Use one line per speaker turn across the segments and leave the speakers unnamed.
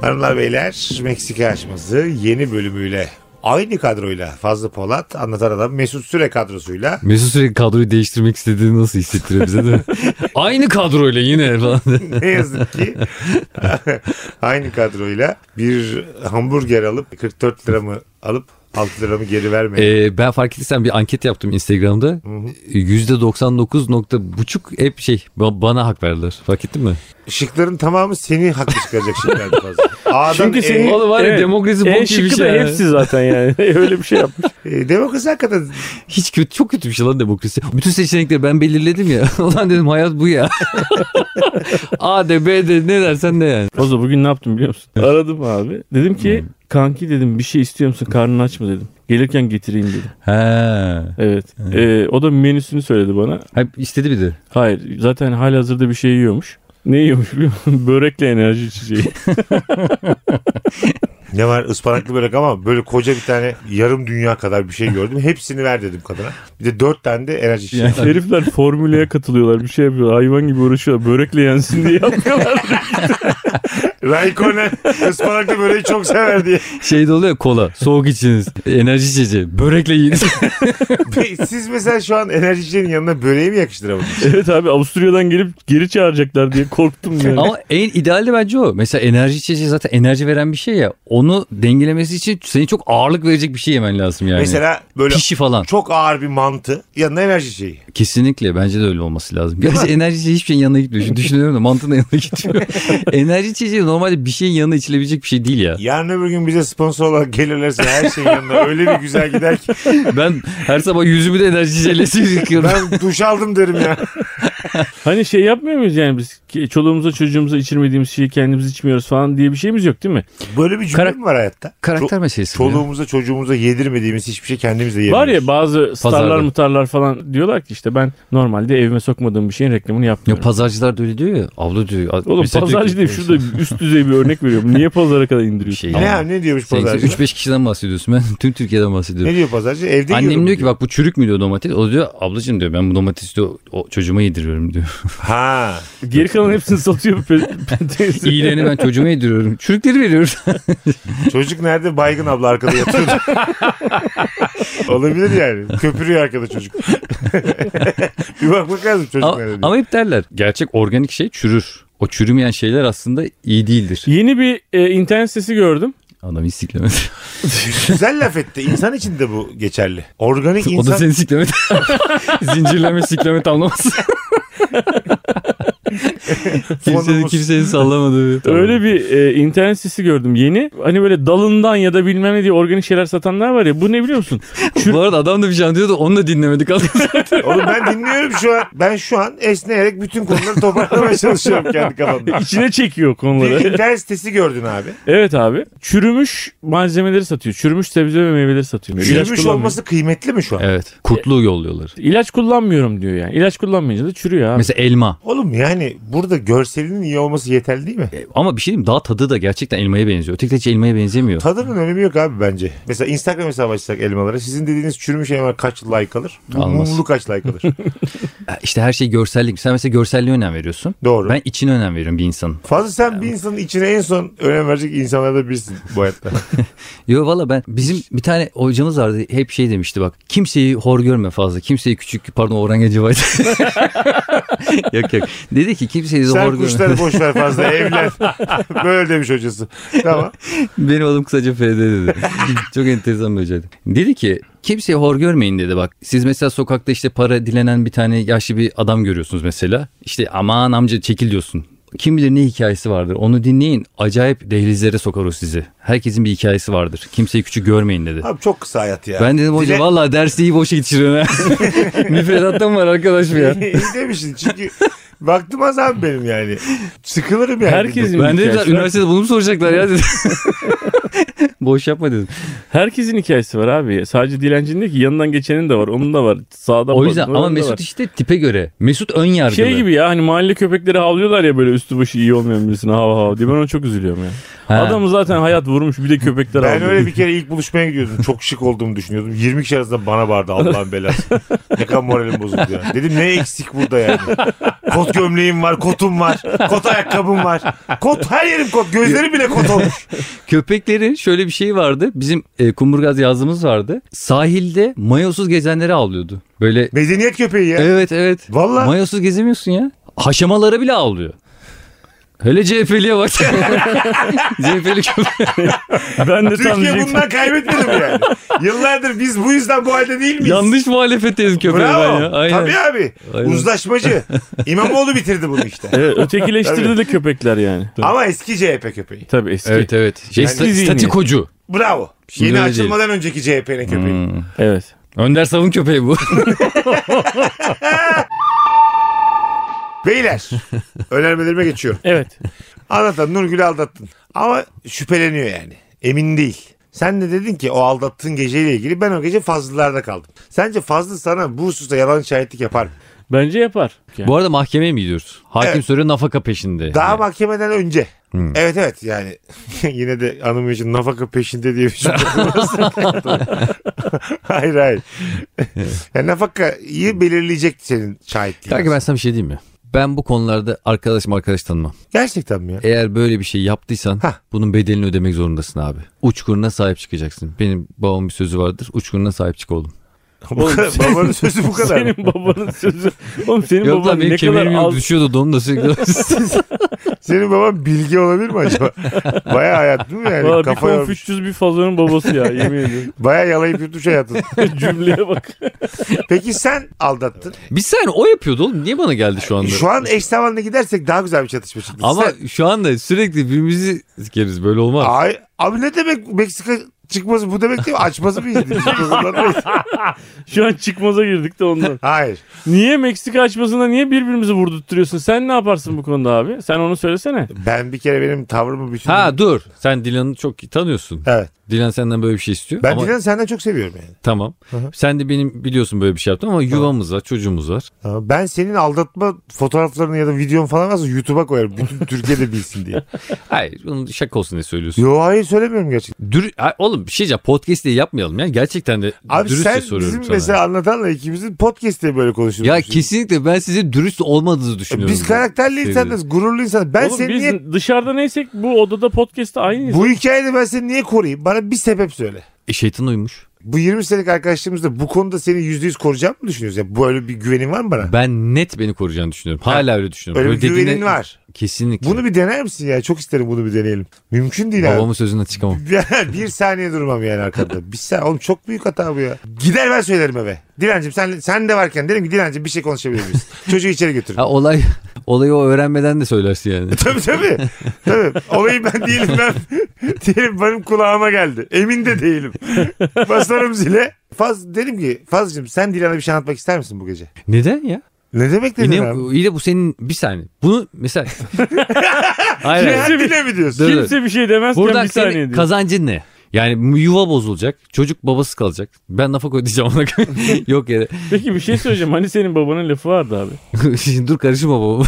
Hanımlar beyler Meksika açması yeni bölümüyle aynı kadroyla Fazlı Polat anlatan adam Mesut Süre kadrosuyla
Mesut sürekli kadroyu değiştirmek istediğini nasıl hissettiriyor bize de. Aynı kadroyla yine falan.
ne yazık ki aynı kadroyla bir hamburger alıp 44 liramı alıp 6 liramı geri vermeye
Ee, ben fark ettiysen bir anket yaptım Instagram'da. Yüzde %99.5 hep şey ba- bana hak verdiler. Fark ettin mi?
Şıkların tamamı seni haklı çıkaracak şıklardı Fazlı. A'dan
Çünkü
E,
senin-
Oğlum var ya
Evet.
demokrasi bok
En
gibi bir
E, şıkkı da
şey. ya.
hepsi zaten yani. Öyle bir şey yapmış.
e, demokrasi hakikaten
Hiç kötü, çok kötü bir şey lan demokrasi. Bütün seçenekleri ben belirledim ya. Ulan dedim hayat bu ya. A de B de ne dersen de yani.
Ozo bugün ne yaptım biliyor musun? Hmm. Aradım abi. Dedim ki kanki dedim bir şey istiyor musun? Karnın aç mı dedim. Gelirken getireyim dedim.
He.
Evet. Ee, o da menüsünü söyledi bana.
Hep istedi bir de.
Hayır zaten halihazırda bir şey yiyormuş. Ne yiyormuş biliyor musun? Börekle enerji içeceği.
ne var ıspanaklı börek ama böyle koca bir tane yarım dünya kadar bir şey gördüm. Hepsini ver dedim kadına. Bir de 4 tane de enerji içeceği.
Yani-
Herifler formüleye katılıyorlar. Bir şey yapıyorlar. Hayvan gibi uğraşıyorlar. Börekle yensin diye yapmıyorlar.
Raikkonen ıspanaklı böreği çok sever diye.
Şey de oluyor ya, kola, soğuk içiniz, enerji içeceği, börekle yiyiniz.
Be- Siz mesela şu an enerjicinin yanına böreği mi yakıştıramadınız?
evet abi Avusturya'dan gelip geri çağıracaklar diye korktum yani.
Ama en ideali bence o. Mesela enerji içeceği zaten enerji veren bir şey ya. Onu dengelemesi için seni çok ağırlık verecek bir şey yemen lazım yani.
Mesela böyle
Pişi falan.
çok ağır bir mantı yanına enerji şeyi.
Kesinlikle bence de öyle olması lazım. Gerçi enerji içeceği hiçbir şeyin yanına gitmiyor. Şimdi düşünüyorum da mantığın da yanına gitmiyor. enerji içeceği normalde bir şeyin yanına içilebilecek bir şey değil ya.
Yarın öbür gün bize sponsor olarak gelirlerse her şeyin yanına öyle bir güzel gider ki
Ben her sabah yüzümü de enerji içeceğiyle yıkıyorum.
ben duş aldım derim ya.
Hani şey yapmıyor muyuz yani biz ki çoluğumuza çocuğumuza içirmediğimiz şeyi kendimiz içmiyoruz falan diye bir şeyimiz yok değil mi?
Böyle bir cümle
Karak-
mi var hayatta?
Karakter
Ço-
meselesi. bu ya.
Çoluğumuza çocuğumuza yedirmediğimiz hiçbir şey kendimiz de
Var
yemiyoruz.
ya bazı starlar
Pazarda.
mutarlar falan diyorlar ki işte ben normalde evime sokmadığım bir şeyin reklamını
Ya
yapmıyorum.
pazarcılar da öyle diyor ya. Abla diyor.
Oğlum
mesela diyor
pazarcı
ki-
diyeyim şurada üst düzey bir örnek veriyorum. Niye pazara kadar indiriyorsun?
Şey,
Ne, ya, ne diyormuş
Sen
pazarcı?
3-5 kişiden bahsediyorsun. Ben tüm Türkiye'den bahsediyorum.
Ne diyor pazarcı? Evde
Annem
yiyorum
diyor ki bak bu çürük mü diyor domates. O diyor ablacığım diyor ben bu domatesi diyor o çocuğuma yediriyorum diyor.
Ha.
Geri kalan hepsini satıyor. Pe- pe-
İyilerini ben çocuğuma yediriyorum. Çürükleri veriyorum.
Çocuk nerede? Baygın abla arkada yatıyordu. Olabilir yani. Köpürüyor arkada çocuk. bir bakmak lazım çocuk
ama,
nerede diye.
ama hep derler gerçek organik şey çürür. O çürümeyen şeyler aslında iyi değildir.
Yeni bir e, internet sitesi gördüm.
Adam hiç siklemedi.
Güzel laf etti. İnsan için de bu geçerli. Organik
O da
insan
seni siklemedi. Zincirleme sikleme tamlaması. kimsenin,
Fonumuz.
kimsenin sallamadığı.
Öyle bir e, internet sitesi gördüm yeni. Hani böyle dalından ya da bilmem ne diye organik şeyler satanlar var ya. Bu ne biliyor musun?
Bu arada adam da bir şey diyordu onu da dinlemedik.
Oğlum ben dinliyorum şu an. Ben şu an esneyerek bütün konuları toparlamaya çalışıyorum kendi kafamda.
İçine çekiyor
Bir
konuları.
internet sitesi gördün abi.
evet abi. Çürümüş malzemeleri satıyor. Çürümüş sebze ve meyveleri satıyor. İlaç
Çürümüş
kullanmıyor.
olması kıymetli mi şu an?
evet. Kurtluğu yolluyorlar.
İlaç kullanmıyorum diyor yani. İlaç kullanmayınca da çürüyor abi.
Mesela elma.
Oğlum yani burada görselinin iyi olması yeterli değil mi?
Ama bir şey diyeyim daha tadı da gerçekten elmaya benziyor. Öteki de hiç elmaya benzemiyor.
Tadının önemi yok abi bence. Mesela Instagram hesabı açsak elmalara sizin dediğiniz çürümüş elmalar kaç like alır? Bu
Almaz.
Mumlu kaç like alır?
İşte her şey görsellik. Sen mesela görselliğe önem veriyorsun.
Doğru.
Ben içine önem veriyorum bir insanın.
Fazla sen bir insanın içine en son önem verecek insanlardan birisin bu hayatta.
Yo valla ben bizim bir tane hocamız vardı hep şey demişti bak kimseyi hor görme fazla kimseyi küçük pardon Orhan Gencebay'dı. yok yok dedi ki kimseyi hor
sen
görme.
kuşları boş ver fazla evlen. Böyle demiş hocası. Tamam.
Benim adım kısaca FD dedi. Çok enteresan bir hocaydı. Dedi ki kimseyi hor görmeyin dedi bak. Siz mesela sokakta işte para dilenen bir tane yaşlı bir adam görüyorsunuz mesela. İşte aman amca çekil diyorsun. Kim bilir ne hikayesi vardır. Onu dinleyin. Acayip dehlizlere sokar o sizi. Herkesin bir hikayesi vardır. Kimseyi küçük görmeyin dedi.
Abi çok kısa hayat ya.
Ben dedim hoca
Dile-
valla dersi iyi boşa geçiriyorsun ha. Müfredattan var arkadaş bu ya.
İyi demişsin çünkü baktım az abi benim yani. Sıkılırım yani.
Herkesin
Ben dedim
ihtiyaçları-
üniversitede bunu mu soracaklar ya dedim. Boş yapma dedim.
Herkesin hikayesi var abi. Sadece dilencinin değil ki yanından geçenin de var. Onun da var. Sağdan
O yüzden
baktığın
ama
onun da
Mesut
var.
işte tipe göre. Mesut ön yargılı.
şey gibi ya hani mahalle köpekleri havlıyorlar ya böyle üstü başı iyi olmayan birisine hav hav diye. Ben ona çok üzülüyorum ya.
Ha.
Adamı zaten hayat vurmuş bir de köpekler
Ben
havlıyor.
öyle bir kere ilk buluşmaya gidiyordum. Çok şık olduğumu düşünüyordum. 20 kişi arasında bana bağırdı Allah'ın belası. Ne kadar moralim bozuldu ya. Dedim ne eksik burada yani. Kot gömleğim var, kotum var, kot ayakkabım var. Kot her yerim kot. Gözlerim bile kot olmuş.
Köpeklerin şöyle bir şeyi vardı. Bizim e, kumburgaz yazlığımız vardı. Sahilde mayosuz gezenleri avlıyordu. Böyle
Medeniyet köpeği ya.
evet evet.
Vallahi.
Mayosuz gezemiyorsun ya. Haşamalara bile avlıyor. Hele CHP'liye bak. CHP'li köpek.
ben de tam
Türkiye
diyecektim.
bundan kaybetmedim yani. Yıllardır biz bu yüzden bu halde değil miyiz?
Yanlış muhalefetteyiz köpeğe ben
Bravo.
ya. Aynen.
Tabii abi.
Aynen.
Uzlaşmacı. İmamoğlu bitirdi bunu işte.
Evet, ötekileştirdi
Tabii.
de köpekler yani. Tabii,
Ama eski CHP köpeği.
eski.
Evet
Evet.
evet. Şey,
Yani-
sta- statikocu.
Bravo. Yeni
Öyle Hmm.
açılmadan önceki CHP'nin köpeği.
Önder Savun köpeği bu.
Beyler. önermelerime geçiyorum.
Evet.
Anlatan Nurgül'ü aldattın. Ama şüpheleniyor yani. Emin değil. Sen de dedin ki o aldattığın geceyle ilgili ben o gece Fazlılar'da kaldım. Sence Fazlı sana bu hususta yalan şahitlik yapar mı?
Bence yapar. Yani.
bu arada mahkemeye mi gidiyoruz? Hakim
Evet.
Sörü nafaka peşinde.
Daha mahkemeden önce. Evet evet yani yine de hanım için nafaka peşinde diye bir şey Hayır hayır. yani nafakayı belirleyecek senin şahitliğin.
Kanka ben sana bir şey diyeyim mi? Ben bu konularda arkadaşım arkadaş tanımam.
Gerçekten mi ya?
Eğer böyle bir şey yaptıysan
Hah.
bunun bedelini ödemek zorundasın abi. Uçkuruna sahip çıkacaksın. Benim babamın bir sözü vardır. Uçkuruna sahip çık oğlum.
Babanın sözü bu kadar. mı?
Senin babanın sözü. Oğlum senin
Yok lan
baban
benim
ne kadar
kemerim yok
az
düşüyordu donumda sürekli.
Senin baban bilgi olabilir mi acaba? Bayağı hayat değil mi yani?
Valla bir
Kafa yormuş.
konfüçyüz bir fazlanın babası ya yemin ediyorum.
Bayağı yalayıp yutmuş hayatın.
Cümleye bak.
Peki sen aldattın. E,
bir saniye o yapıyordu oğlum. Niye bana geldi şu anda?
Şu an eş zamanlı gidersek daha güzel bir çatışma çıktı.
Ama
Sen-
şu anda sürekli birbirimizi sikeriz böyle olmaz.
Ay, abi ne demek Meksika çıkması bu demek değil mi? Açması mı izledin?
Şu an çıkmaza girdik de ondan.
Hayır.
Niye Meksika açmasında niye birbirimizi vurdurtturuyorsun? Sen ne yaparsın bu konuda abi? Sen onu söylesene.
Ben bir kere benim tavrımı bütün...
Ha dur sen Dilan'ı çok iyi tanıyorsun.
Evet.
Dilan senden böyle bir şey istiyor.
Ben
ama
Dilan'ı senden çok seviyorum yani.
Tamam. Sen de benim biliyorsun böyle bir şey yaptın ama yuvamız var çocuğumuz var.
Ama Ben senin aldatma fotoğraflarını ya da videon falan varsa YouTube'a koyarım. Bütün Türkiye'de bilsin diye.
Hayır bunun şaka olsun diye söylüyorsun.
Yo hayır söylemiyorum gerçekten.
Dür Ay, oğlum bir şey diyeceğim podcast diye yapmayalım ya. Gerçekten de
Abi
dürüstçe
sen
soruyorum
bizim
sana.
mesela anlatanla ikimizin podcast'te böyle konuşuyoruz.
Ya kesinlikle ben sizin dürüst olmadığınızı düşünüyorum. Şey,
Biz karakterli
Sevgili-
insanız, gururlu insanız. Ben
Oğlum
seni
biz
niye...
dışarıda neysek bu odada podcast'te aynıyız.
Bu hikayede ben seni niye koruyayım? Bana bir sebep söyle.
E, şeytan uymuş.
Bu 20 senelik arkadaşlığımızda bu konuda seni %100 koruyacağım mı düşünüyorsun? Yani böyle bir güvenin var mı bana?
Ben net beni koruyacağını düşünüyorum. Hala öyle düşünüyorum.
Öyle bir
dediğine-
güvenin var.
Kesinlikle.
Bunu bir dener misin ya? Çok isterim bunu bir deneyelim. Mümkün değil abi.
Babamın sözünden çıkamam.
bir saniye durmam yani arkada. Bir saniye. Oğlum çok büyük hata bu ya. Gider ben söylerim eve. Dilencim sen, sen de varken derim ki Dilencim bir şey konuşabilir miyiz? Çocuğu içeri götür.
Ha, olay olayı o öğrenmeden de söylersin yani.
tabii tabii. tabii. Olayı ben değilim ben. diyelim benim kulağıma geldi. Emin de değilim. Basarım zile. Faz dedim ki Fazlıcığım sen Dilan'a bir şey anlatmak ister misin bu gece?
Neden ya?
Ne demek
E,
dedin
ne-
abi?
iyi de bu senin bir saniye. Bunu mesela. Hayır, hayır.
Yine bile mi diyorsun?
Dur.
Kimse bir şey demezken
Buradan
bir saniye
senin
diyor.
kazancın ne? Yani yuva bozulacak. Çocuk babası kalacak. Ben nafaka ödeyeceğim ona. Yok yere.
Peki bir şey söyleyeceğim. Hani senin babanın lafı vardı abi.
Şimdi dur karışma babama.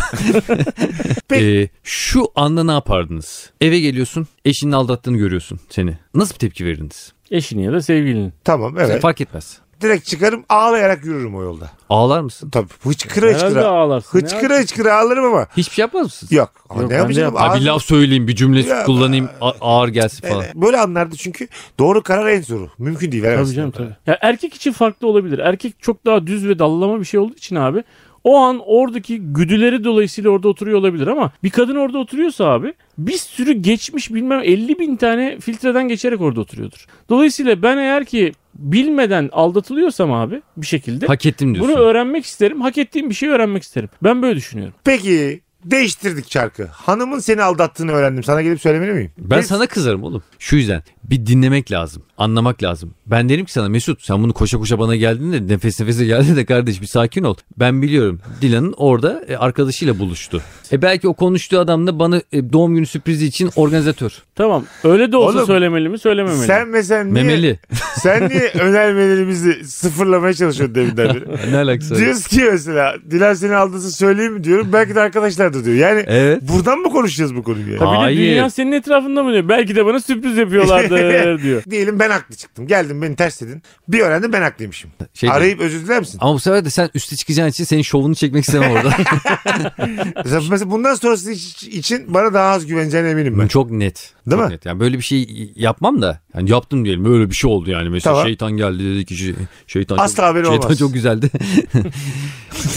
Peki.
Ee, şu anda ne yapardınız? Eve geliyorsun. Eşinin aldattığını görüyorsun seni. Nasıl bir tepki verirdiniz?
Eşini ya da sevgilini.
Tamam
Sen
evet.
Fark etmez.
Direkt çıkarım ağlayarak yürürüm o yolda.
Ağlar mısın?
Tabii hıçkıra
Herhalde
hıçkıra.
ağlarsın. ya.
Hıçkıra hıçkıra ağlarım ama.
Hiçbir şey yapmaz mısın?
Yok. Ama
Yok,
ne
ben de
yapacağım?
yapmam.
Ha, bir
Ağzım-
laf söyleyeyim bir cümle
Ya-
kullanayım a- ağır gelsin falan.
Evet, E, Böyle anlarda çünkü doğru karar en zoru. Mümkün değil. veremezsin.
Tabii canım tabii. Ya erkek için farklı olabilir. Erkek çok daha düz ve dallama bir şey olduğu için abi o an oradaki güdüleri dolayısıyla orada oturuyor olabilir ama bir kadın orada oturuyorsa abi bir sürü geçmiş bilmem 50 bin tane filtreden geçerek orada oturuyordur. Dolayısıyla ben eğer ki bilmeden aldatılıyorsam abi bir şekilde
Hak ettim diyorsun.
bunu öğrenmek isterim. Hak ettiğim bir şeyi öğrenmek isterim. Ben böyle düşünüyorum.
Peki Değiştirdik çarkı. Hanımın seni aldattığını öğrendim. Sana gelip söylemeli miyim?
Ben
Gelip-
sana kızarım oğlum. Şu yüzden bir dinlemek lazım. Anlamak lazım. Ben derim ki sana Mesut sen bunu koşa koşa bana geldin de nefes nefese geldin de kardeş bir sakin ol. Ben biliyorum Dilan'ın orada e, arkadaşıyla buluştu. E belki o konuştuğu adam da bana e, doğum günü sürprizi için organizatör.
Tamam. Öyle de olsa
Oğlum,
söylemeli mi söylememeli
Sen
mi?
mesela niye,
Memeli.
sen niye önermelerimizi sıfırlamaya çalışıyorsun deminden beri?
ne alakası var?
Diyoruz ki mesela Dilan seni aldattı söyleyeyim mi diyorum. Belki de arkadaşlardır diyor. Yani
Evet.
buradan mı konuşacağız bu konuyu? Yani?
Ha, bir
Hayır.
de dünya senin etrafında mı diyor? Belki de bana sürpriz yapıyorlardır diyor.
Diyelim ben haklı çıktım. Geldim beni ters dedin. Bir öğrendim ben haklıymışım.
Şey
Arayıp özür diler misin?
Ama bu sefer de sen üste çıkacağın için senin şovunu çekmek istemem orada.
Mesela- Mesela bundan sonrası iç- için bana daha az güveneceğine eminim ben.
Çok net.
Değil
Çok
mi?
Net. Yani böyle bir şey yapmam da. Yani yaptım diyelim. Böyle bir şey oldu yani. Mesela
Tamam.
şeytan geldi dedi ki şey- şeytan
Asla
çok,
haberi
şeytan
olmaz.
çok güzeldi.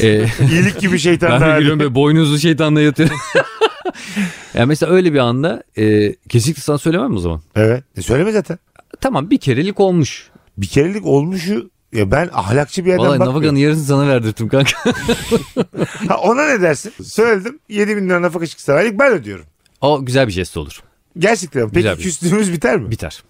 Ee,
İyilik gibi şeytan
ben
daha
de gülüyorum böyle boynuzlu şeytanla yatıyorum. yani mesela öyle bir anda e, kesinlikle sana söylemem o zaman.
Evet. E söyleme zaten.
Tamam bir kerelik olmuş.
Bir kerelik olmuşu ya ben ahlakçı bir yerden
Vallahi
bakmıyorum.
Navaga'nın yarısını sana verdirttim kanka.
Ha, ona ne dersin? Söyledim 7 bin lira nafaka çıksa aylık ben ödüyorum.
o güzel bir jest olur.
Gerçekten. Peki
Güzel bir- şey.
küslüğümüz biter mi?
Biter.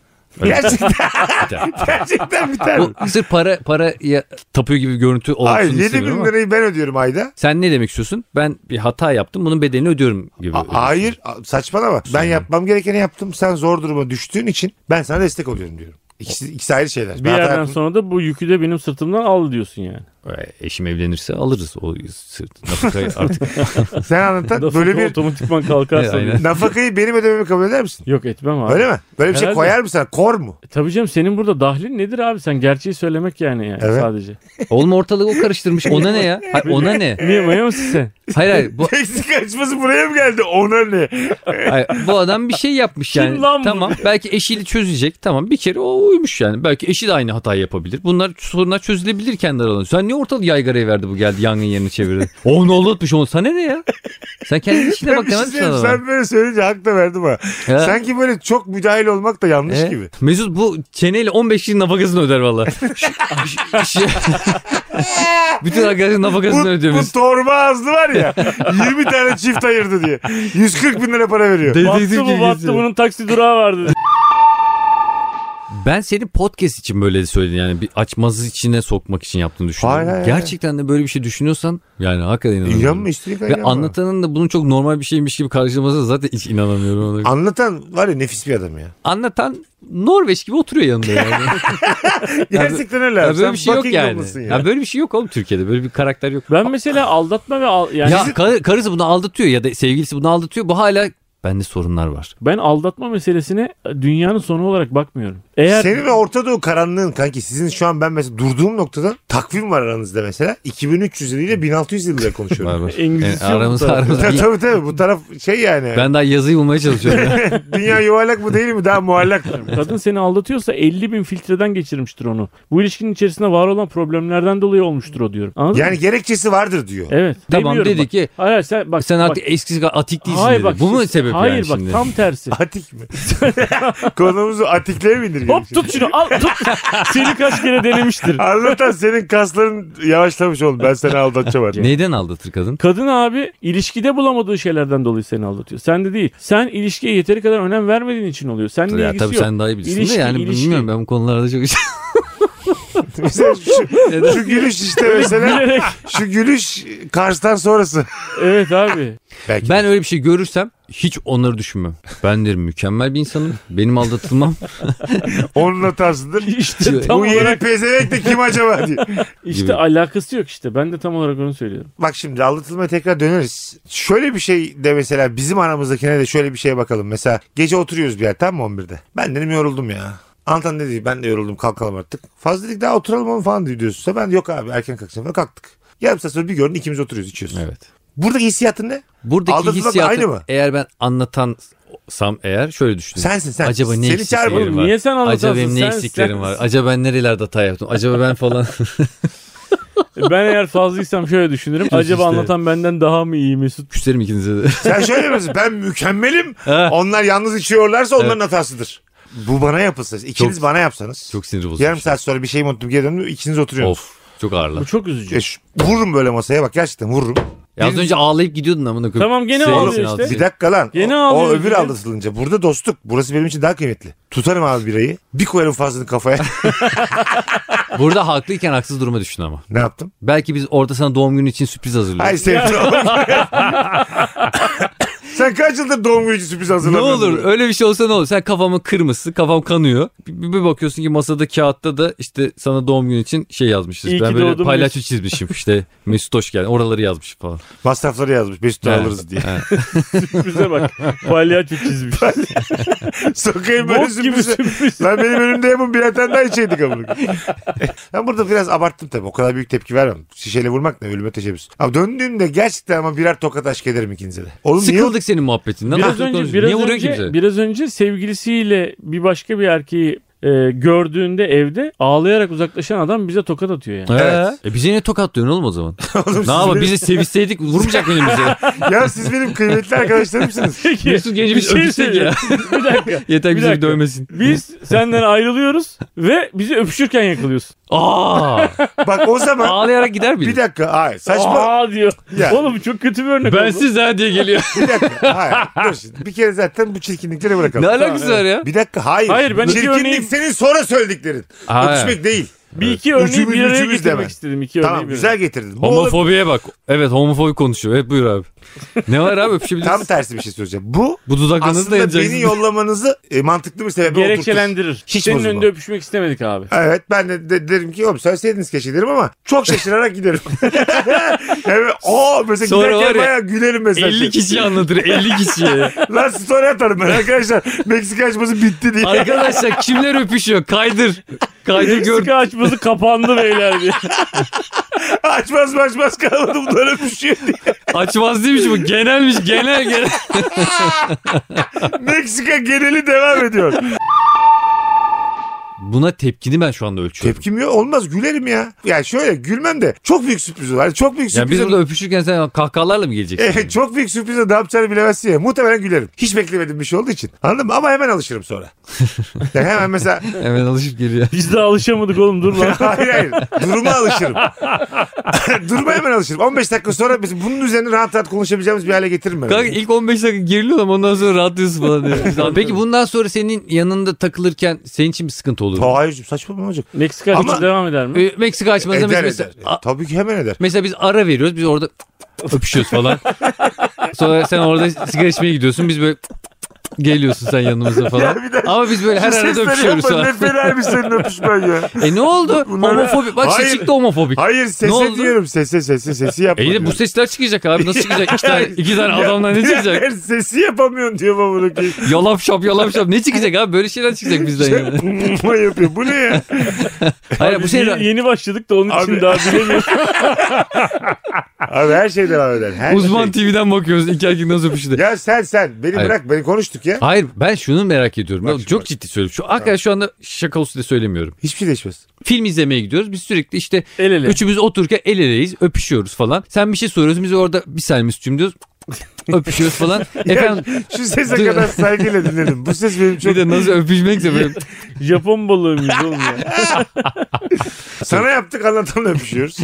Gerçekten,
Biter.
gerçekten biter mi?
bu sırf para paraya tapıyor gibi bir görüntü olsun
Hayır 7
istemiyorum
bin
ama.
lirayı ben ödüyorum ayda.
Sen ne demek istiyorsun? Ben bir hata yaptım. Bunun bedelini ödüyorum gibi.
A- hayır a- saçmalama. Ben yapmam gerekeni yaptım. Sen zor duruma düştüğün için ben sana destek oluyorum diyorum. İkisi, ikisi ayrı şeyler.
Bir
Ben hata
yerden
yaptım.
sonra da bu yükü de benim sırtımdan al diyorsun yani.
Ee, Eşim evlenirse alırız o sırt. Nafakayı artık.
Sen anlatan böyle bir
otomatikman kalkarsa.
Aynen.
nafakayı benim ödememi kabul eder misin?
Yok etmem abi.
Öyle mi? Böyle bir şey
Herhalde.
koyar mısın? Kor mu?
E, Tabii canım senin burada dahlin nedir abi? Sen gerçeği söylemek yani, yani
Evet.
sadece.
Oğlum ortalığı o karıştırmış. Ona ne ya? Hayır, ona ne?
Niye mayo musun sen?
Hayır hayır. Bu,
Meksika açması buraya mı geldi? Ona ne?
hayır, bu adam bir şey yapmış yani.
lan bu?
tamam. Belki eşiyle çözecek. Tamam. Bir kere o uymuş yani. Belki eşi de aynı hatayı yapabilir. Bunlar sorunlar çözülebilir kendi aralarında. Sen niye ortalığı yaygaraya verdi bu geldi yangın yerini çevirdi? Oğlum ne oldu onu? Sana ne ya? Sen kendi işine
Ben
bak
bir şey
demez misin
söyleyeyim,
adama?
sen böyle söyleyince hak da verdim ha.
Ya.
Sanki böyle çok müdahil olmak da yanlış
E?
Ee,
gibi.
Mesut bu çeneyle 15 yıl nafakasını öder valla. Şu- şu- Bütün arkadaşın
Bu,
nafakasını ödüyor
bu
Mesut.
torba ağızlı var ya 20 tane çift ayırdı diye. 140 bin lira para veriyor.
Dedektif
Battı
gibi
bu battı
geziyor.
bunun taksi durağı vardı.
Ben senin podcast için böyle söyledim yani bir açmazı içine sokmak için yaptığını düşünüyorum.
Hayır, hayır,
Gerçekten de böyle bir şey düşünüyorsan yani hakikaten inanamıyorum.
İnanma üstelik
Ve
inanma.
anlatanın da bunun çok normal bir şeymiş gibi karşılamasına zaten hiç inanamıyorum. Ona.
Anlatan var ya nefis bir adam ya.
Anlatan Norveç gibi oturuyor yanında yani.
Gerçekten öyle.
Ya
abi.
böyle
Sen
bir şey yok
Buckingham
yani.
mısın
Ya.
Ya.
böyle bir şey yok oğlum Türkiye'de. Böyle bir karakter yok.
Ben mesela aldatma ve al, yani
ya kar- karısı bunu aldatıyor ya da sevgilisi bunu aldatıyor. Bu hala bende sorunlar var.
ben aldatma meselesine dünyanın sonu olarak bakmıyorum. Eğer
Senin ve Orta Doğu karanlığın kanki sizin şu an ben mesela durduğum noktada takvim var aranızda mesela 2300 ile 1600 yıl lira
Var
konuşuyorum.
var.
İngilizce
Yani aramızda-
bu taraf.
aramızda-
tabii tabii tabii. bu taraf şey yani
Ben daha yazıyı bulmaya çalışıyorum.
dünya yuvarlak mı değil mi daha muallak mı?
kadın seni aldatıyorsa 50 bin filtreden geçirmiştir onu. Bu ilişkinin içerisinde var olan problemlerden dolayı olmuştur o diyorum. Anladın mı?
Yani gerekçesi vardır diyor.
Evet.
tamam
demiyorum
dedi
bak.
ki
Hayır hayır, sen bak.
sen
bak-
artık eskisi kadar atik değilsin
Hayır
dedi.
bak.
Bu mu
şimdi-
sebep
Hayır
yani
bak
şimdi?
tam tersi.
Atik mi? Konumuzu atikliğe mi indirgelim?
Hop tut şunu al tut. Seni kaç kere denemiştir.
Anlatan senin kasların yavaşlamış oğlum. Ben seni aldatacağım artık.
Neyden aldatır kadın?
Kadın abi ilişkide bulamadığı şeylerden dolayı seni aldatıyor. Sen de değil. Sen ilişkiye yeteri kadar önem vermediğin için oluyor. Seninle
Ya
ilgisi
tabii
yok.
sen daha iyi bilirsin
İlişki,
de yani
ilişki.
bilmiyorum ben bu konularda çok
Mesela şu, şu gülüş işte mesela.
Bilerek.
Şu gülüş Kars'tan sonrası.
Evet abi.
Belki.
Ben öyle bir şey görürsem hiç onları düşünmem. Ben derim mükemmel bir insanım. Benim aldatılmam.
Onun hatasıdır.
İşte tam
Bu yeni
olarak
pezevenk de kim acaba diye.
işte
gibi.
alakası yok işte. Ben de tam olarak onu söylüyorum.
Bak şimdi aldatılmaya tekrar döneriz. Şöyle bir şey de mesela bizim aramızdakine de şöyle bir şeye bakalım. Mesela gece oturuyoruz bir yer tamam mı 11'de? Ben dedim yoruldum ya. Antan dedi ben de yoruldum kalkalım artık. Fazla dedik daha oturalım mı falan diyorsun. Ben de yok abi erken kalkacağım. Böyle Kalktık. Yarım saat sonra bir gördün ikimiz oturuyoruz içiyoruz.
evet.
Buradaki hissiyatın ne?
Buradaki
Aldatılmak
hissiyatı
aynı mı?
eğer ben anlatansam eğer şöyle düşünüyorum.
Sensin sen.
Acaba ne
Seni çağırmadım.
eksiklerim var?
Niye sen anlatansın?
Acaba benim ne
Sen-
eksiklerim
sen-
var? Acaba ben nerelerde hata yaptım? Acaba ben falan.
E, Ben eğer fazlaysam şöyle düşünürüm. Acaba
işte.
anlatan benden daha mı iyi Mesut?
Küserim ikinize de.
Sen şöyle misin? Ben mükemmelim.
Ha.
Onlar yalnız içiyorlarsa onların hatasıdır. Bu bana yapılsa. ikiniz
Çok-
bana yapsanız.
Çok sinir bozucu.
yarım
bir şey.
saat sonra bir şey unuttum geri döndüm. ikiniz oturuyorsunuz.
Of. Çok ağırlar.
Bu çok
Ya
üzücü.
şu- vururum böyle masaya bak gerçekten vururum.
Ya az önce ağlayıp gidiyordun amına koyayım.
Tamam, gene
Sevgilisinin
ağlıyor
altına.
işte.
Bir dakika lan.
Gene
o, o
ağlıyor
öbür
gibi.
aldırılınca. Burada dostluk. Burası benim için daha kıymetli. Tutarım abi birayı. Bir koyarım fazlını kafaya.
Burada haklıyken haksız duruma düştün ama.
ne yaptım?
Belki biz orada sana doğum günü için sürpriz hazırlıyoruz.
Ay sevdim. Sen kaç yıldır doğum günü için sürpriz
Ne
hazırlamıyorsun?
olur öyle bir şey olsa ne olur? Sen kafamın kırmızısı, kafam kanıyor. Bir, bir bakıyorsun ki masada kağıtta da işte sana doğum günü için şey yazmışız.
İyi
ben
ki
böyle
doğdun
palyaço çizmişim işte Mesut hoş geldin. Oraları yazmışım falan.
Masrafları yazmış. Mesut'u
Evet.
alırız diye.
Sürprize bak. Palyaço çizmiş.
Sokayım böyle
Bok gibi
sürprizi.
sürpriz.
Lan benim önümde yapın birer tane daha içeydik amına koyayım. ben burada biraz abarttım tabii. O kadar büyük tepki vermem. Şişeyle vurmak ne ölüme teşebbüs. Abi döndüğümde gerçekten ama birer tokat aşk ederim ikinize de. Oğlum niye
Sıkıldık senin muhabbetinden.
Biraz
Artık konuş-
önce, biraz
Niye vuruyor ki bize?
önce, biraz önce sevgilisiyle bir başka bir erkeği e, gördüğünde evde ağlayarak uzaklaşan adam bize tokat atıyor yani.
Evet.
Ee, e bize niye tokatlıyorsun oğlum o zaman?
oğlum
ne
siz
yapalım
benim-
bizi sevişseydik vurmayacak mıydın bize?
Ya siz benim kıymetli arkadaşlarımsınız.
Peki.
Mesut Genci biz öpüşsek ya.
şey bir dakika.
Yeter
Bir
bizi bir
dakika.
dövmesin.
Biz senden ayrılıyoruz ve bizi öpüşürken yakalıyorsun.
Aa,
Bak o zaman
ağlayarak gider
bir
miydin?
dakika. Hayır saçma.
Aa diyor.
Ya.
Oğlum çok kötü bir örnek oldu.
Bensiz ha diye geliyor.
Bir dakika. Hayır. Dur şimdi. Bir kere zaten bu çirkinlikleri bırakalım.
ne alakası var ya?
Bir dakika hayır.
Hayır, ben iki
Çirkinlik
örneğim-
senin sonra söylediklerin.
Ha.
Öpüşmek değil.
Bir iki örneği
Üçümüz-
bir araya
üçümüz de
getirmek
ben.
istedim. İki örneği
Tamam
bir
güzel getirdin. Bu olabilir.
Homofobiye bak. Evet homofobi konuşuyor. Evet buyur abi. Ne var abi öpüşebiliriz.
Tam tersi bir şey söyleyeceğim. Bu
Bu dudaklarınızı da
aslında beni
yanacaksınız.
yollamanızı e, mantıklı bir sebebe
araya.
oturtur.
Gerekçelendirir.
Hiç
Senin
bozulma.
önünde öpüşmek istemedik abi.
Evet ben de, de- derim ki oğlum söyleseydiniz keşke derim ama çok şaşırarak giderim. evet, o mesela
Sonra var
giderken
ya,
bayağı gülerim mesela.
50 kişiyi anlatır 50 kişiye.
Lan story atarım ben arkadaşlar. Meksika açması bitti diye.
Arkadaşlar kimler öpüşüyor? Kaydır. Kaydır gör.
Meksika açması kapandı beyler diye.
açmaz mı açmaz kalmadı bunlar öpüşüyor diye.
Açmaz değilmiş bu. Genelmiş genel genel.
Meksika geneli devam ediyor.
Buna tepkini ben şu anda ölçüyorum.
Tepkim yok olmaz gülerim ya. Ya şöyle gülmem de çok büyük sürpriz var. Çok büyük
yani
sürpriz
biz
olur.
burada öpüşürken sen kahkahalarla mı geleceksin?
Evet çok büyük sürprizle ne yapacağını bilemezsin ya. Muhtemelen gülerim. Hiç beklemediğim bir şey olduğu için. Anladın mı? Ama hemen alışırım sonra. yani hemen mesela
Hemen alışıp geliyor.
Biz de alışamadık oğlum dur lan.
hayır hayır duruma alışırım. duruma hemen alışırım. 15 dakika sonra biz bunun üzerine rahat rahat konuşabileceğimiz bir hale getiririm ben.
Kanka ilk 15 dakika geriliyor ama ondan sonra rahatlıyorsun falan diye. Peki bundan sonra senin yanında takılırken senin için bir sıkıntı olur mu?
Ta, hayır saçma mı olacak?
Meksika açması
Ama-
devam eder mi?
Ee, Meksika açmazsa
Eder
mesela,
eder. E,
mesela, a-
Tabii ki hemen eder.
mesela biz ara veriyoruz. Biz orada öpüşüyoruz falan. sonra sen orada sigara içmeye gidiyorsun. Biz böyle geliyorsun sen yanımıza falan.
Ya bir de-
Ama biz böyle her
Şu
arada
sesleri
öpüşüyoruz
yapma,
falan.
Ne fena bir senin öpüşmen ya.
E ne oldu?
Bunlar-
Homofobi. Bak
Hayır.
ses çıktı homofobik.
Hayır sese
oldu?
diyorum sese sese sesi yapma.
E yine bu
diyorum.
sesler çıkacak abi. Nasıl çıkacak? İki tane, iki tane
Ya,
adamdan ne çıkacak?
birader, Sesi yapamıyorsun diyor baba bunu.
Yalap şap yalap şap. Ne çıkacak abi? Böyle şeyler çıkacak bizden yani.
Şey, yapıyor. Bu ne ya?
Hayır bu şey
Biz
sefer
yeni, yeni başladık da onun
Abi-
için daha bilemiyoruz.
Abi her şey devam eder. Her şey.
uzman TV'den bakıyoruz. İki erkek nasıl öpüştü?
Ya sen sen beni
Hayır.
bırak beni konuştuk ya.
Hayır ben şunu merak ediyorum.
Bak
Ya
şimdi
Çok
bak.
ciddi söylüyorum. Şu, hakikaten şu anda şaka olsun diye söylemiyorum.
Hiçbir şey değişmez.
Film izlemeye gidiyoruz. Biz sürekli işte
El ele.
üçümüz otururken el eleyiz. Öpüşüyoruz falan. Sen bir şey soruyorsun. Biz orada bir saniye Mesut'cum diyoruz. öpüşüyoruz falan. Efendim
Şu sese kadar saygıyla dinledim. Bu ses benim çok...
bir de nasıl öpüşmekse böyle
Japon balığı mıyız oğlum ya?
Sana yaptık anlatanla öpüşüyoruz.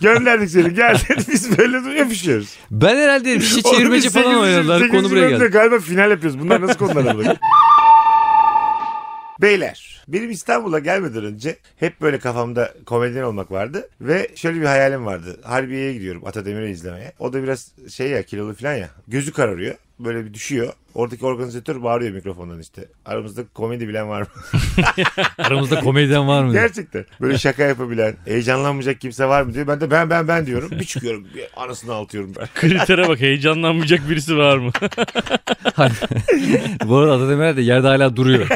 Gönderdik seni gel dedi, biz böyle de öpüşüyoruz.
Ben herhalde bir şey çevirmeci
Oğlum biz
falan
8.
oynadılar. Konu
8.
buraya
bölümde
geldi.
Galiba final yapıyoruz. Bunlar nasıl konular oldu? Beyler benim İstanbul'a gelmeden önce hep böyle kafamda komedyen olmak vardı ve şöyle bir hayalim vardı. Harbiye'ye gidiyorum Atademir'i izlemeye. O da biraz şey ya kilolu falan ya gözü kararıyor böyle bir düşüyor. Oradaki organizatör bağırıyor mikrofondan işte. Aramızda komedi bilen var mı?
Aramızda komedyen var mı?
Gerçekten. Böyle şaka yapabilen, heyecanlanmayacak kimse var mı diyor. Ben de ben ben ben diyorum. Bir çıkıyorum. Bir anasını altıyorum ben.
Kritere bak heyecanlanmayacak birisi var mı?
Bu arada Atademirer de yerde hala duruyor.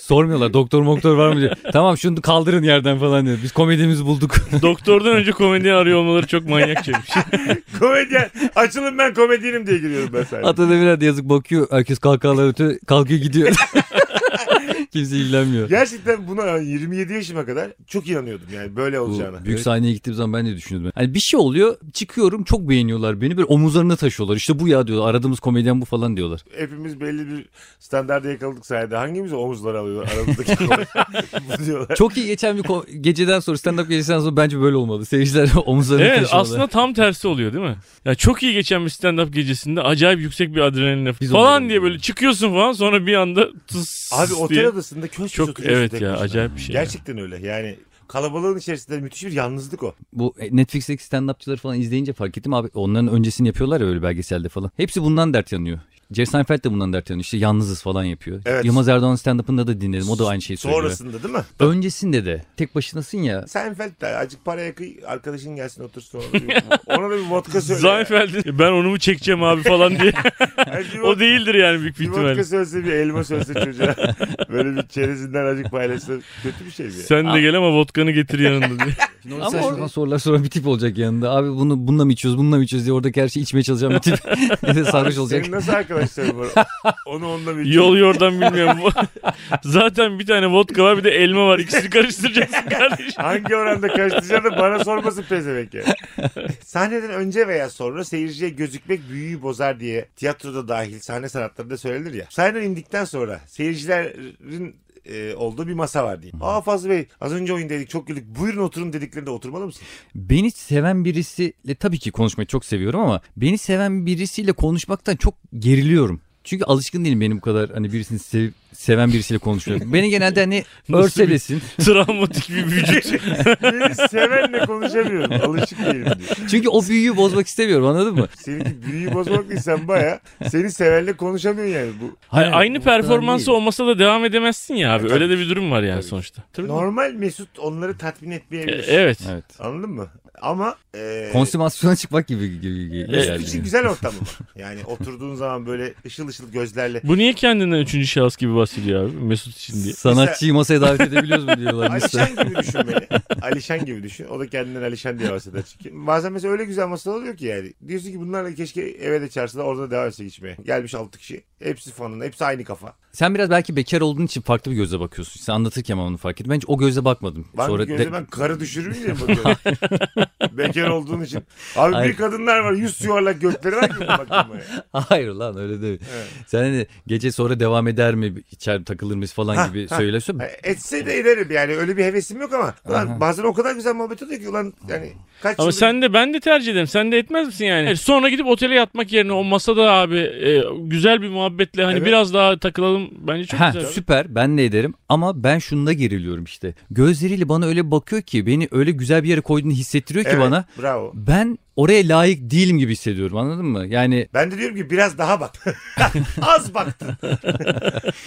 Sormuyorlar doktor moktor var mı diye. Tamam şunu kaldırın yerden falan diyor. Biz komedimizi bulduk.
Doktordan önce komediyi arıyor olmaları çok manyakça bir şey.
Komedyen. Açılın ben komedyenim diye giriyorum ben sadece.
Atademirer de yazık bakıyor. Herkes kalkalar ötü kalkıyor gidiyor. Kimse ilgilenmiyor.
Gerçekten buna 27 yaşıma kadar çok inanıyordum yani böyle
Bu
olacağına.
büyük sahneye gittiğim zaman ben de düşünüyordum. Hani bir şey oluyor çıkıyorum çok beğeniyorlar beni böyle omuzlarına taşıyorlar. İşte bu ya diyorlar aradığımız komedyen bu falan diyorlar.
Hepimiz belli bir standarda yakaladık sayede. Hangimiz omuzları alıyor aramızdaki Bu diyorlar.
Çok iyi geçen bir ko- geceden sonra stand up gecesinden sonra bence böyle olmalı. Seyirciler omuzlarına
Evet
taşıyorlar.
aslında tam tersi oluyor değil mi? Ya çok iyi geçen bir stand-up gecesinde acayip yüksek bir adrenalinle
Biz
falan
onu-
diye böyle çıkıyorsun falan sonra bir anda tıs
Abi
diye.
otel adasında köz köz
Çok
oturuyorsun
evet
tek
ya
başına.
acayip bir şey. ya.
Gerçekten öyle yani kalabalığın içerisinde müthiş bir yalnızlık o.
Bu e, Netflix'teki stand-upçıları falan izleyince fark ettim abi. Onların öncesini yapıyorlar ya böyle belgeselde falan. Hepsi bundan dert yanıyor. Jerry Seinfeld de bundan dert yanıyor. İşte yalnızız falan yapıyor.
Evet.
Yılmaz Erdoğan stand-up'ında da dinledim. O da aynı şeyi söylüyor.
Sonrasında değil mi?
Öncesinde de tek başınasın ya.
Seinfeld de azıcık paraya kıy arkadaşın gelsin otursun ona da bir, ona da bir vodka söyle.
Seinfeld'in ben onu mu çekeceğim abi falan diye.
Yani bir
o
vod-
değildir yani büyük bir
Bir vodka
ihtimalle.
söylese bir elma söylese çocuğa. Böyle bir çerezinden azıcık paylaşsa kötü bir şey mi? ya?
Sen de gel ama vodkanı getir yanında diye.
Ama saçma sorular sonra bir tip olacak yanında. Abi bunu bununla mı içiyoruz bununla mı içiyoruz diye oradaki her şeyi içmeye çalışan bir tip. Bir de sarhoş olacak.
Senin nasıl arkadaşların var? Onu onunla bir
Yol yordan bilmiyorum. Zaten bir tane vodka var bir de elma var. İkisini karıştıracaksın kardeşim.
Hangi oranda karıştıracağını da bana sormasın pezevenk ya. Sahneden önce veya sonra seyirciye gözükmek büyüyü bozar diye tiyatroda dahil sahne sanatlarında söylenir ya. Sahneden indikten sonra seyircilerin e, olduğu bir masa var diyeyim. Aa Fazlı Bey az önce oyundaydık çok güldük buyurun oturun dediklerinde oturmalı mısın?
Beni seven birisiyle tabii ki konuşmayı çok seviyorum ama beni seven birisiyle konuşmaktan çok geriliyorum. Çünkü alışkın değilim benim bu kadar hani birisini sevip seven birisiyle konuşuyorum. Beni genelde hani
Nasıl
örselesin.
Travmatik bir vücut.
Beni sevenle konuşamıyorum alışık değilim diyor.
Çünkü o büyüyü bozmak istemiyorum anladın mı?
Seninki büyüyü bozmak değil sen baya seni sevenle konuşamıyorsun yani. Bu
Hayır, aynı
o kadar
performansı
değil.
olmasa da devam edemezsin ya abi. Öyle de bir durum var yani sonuçta.
normal Mesut onları tatmin
E,
etmeyebilir.
Evet.
şey. Evet.
Anladın mı? Ama e,
Konsümasyona çıkmak gibi gibi. gibi
Evet.
Mesut için güzel ortam ama. Yani oturduğun zaman böyle ışıl ışıl gözlerle.
Bu niye kendinden üçüncü şahıs gibi bahsediyor abi Mesut için diye.
Sanatçıyı masaya davet edebiliyoruz mu diyorlar mesela.
Alişan gibi düşün beni. Alişan gibi düşün. O da kendinden Alişan diye bahseder çünkü. Bazen mesela öyle güzel masalar oluyor ki yani. Diyorsun ki bunlarla keşke eve de çağırsalar orada devam etse içmeye. Gelmiş 6 kişi. Hepsi fanın. Hepsi aynı kafa.
Sen biraz belki bekar olduğun için farklı bir gözle bakıyorsun. Sen anlatırken ben onu fark ettim. Ben hiç o gözle bakmadım.
Ben
Sonra
gözle
de-
ben karı düşürür diye bakıyorum. Bekar olduğun için. Abi
Hayır.
bir kadınlar var. Yüz yuvarlak gökleri var ki bakmaya.
Hayır lan öyle değil.
Evet.
Sen hani gece sonra devam eder mi? İçer takılır mıyız falan gibi söylüyorsun.
Etse de ederim yani. Öyle bir hevesim yok ama. Ulan bazen o kadar güzel muhabbet oluyor ki. Ulan yani kaç
Ama
yıldır-
sen de ben de tercih ederim. Sen de etmez misin yani? Evet, Sonra gidip otele yatmak yerine o masada abi e, güzel bir muhabbetle hani
Evet.
biraz daha takılalım. Bence çok
Ha,
güzel.
süper ben de ederim ama ben şunda geriliyorum işte. Gözleriyle bana öyle bakıyor ki beni öyle güzel bir yere koyduğunu hissettiriyor ki
Evet,
bana.
Bravo.
Ben oraya layık değilim gibi hissediyorum anladın mı? Yani
Ben de diyorum ki biraz daha bak. Az baktın.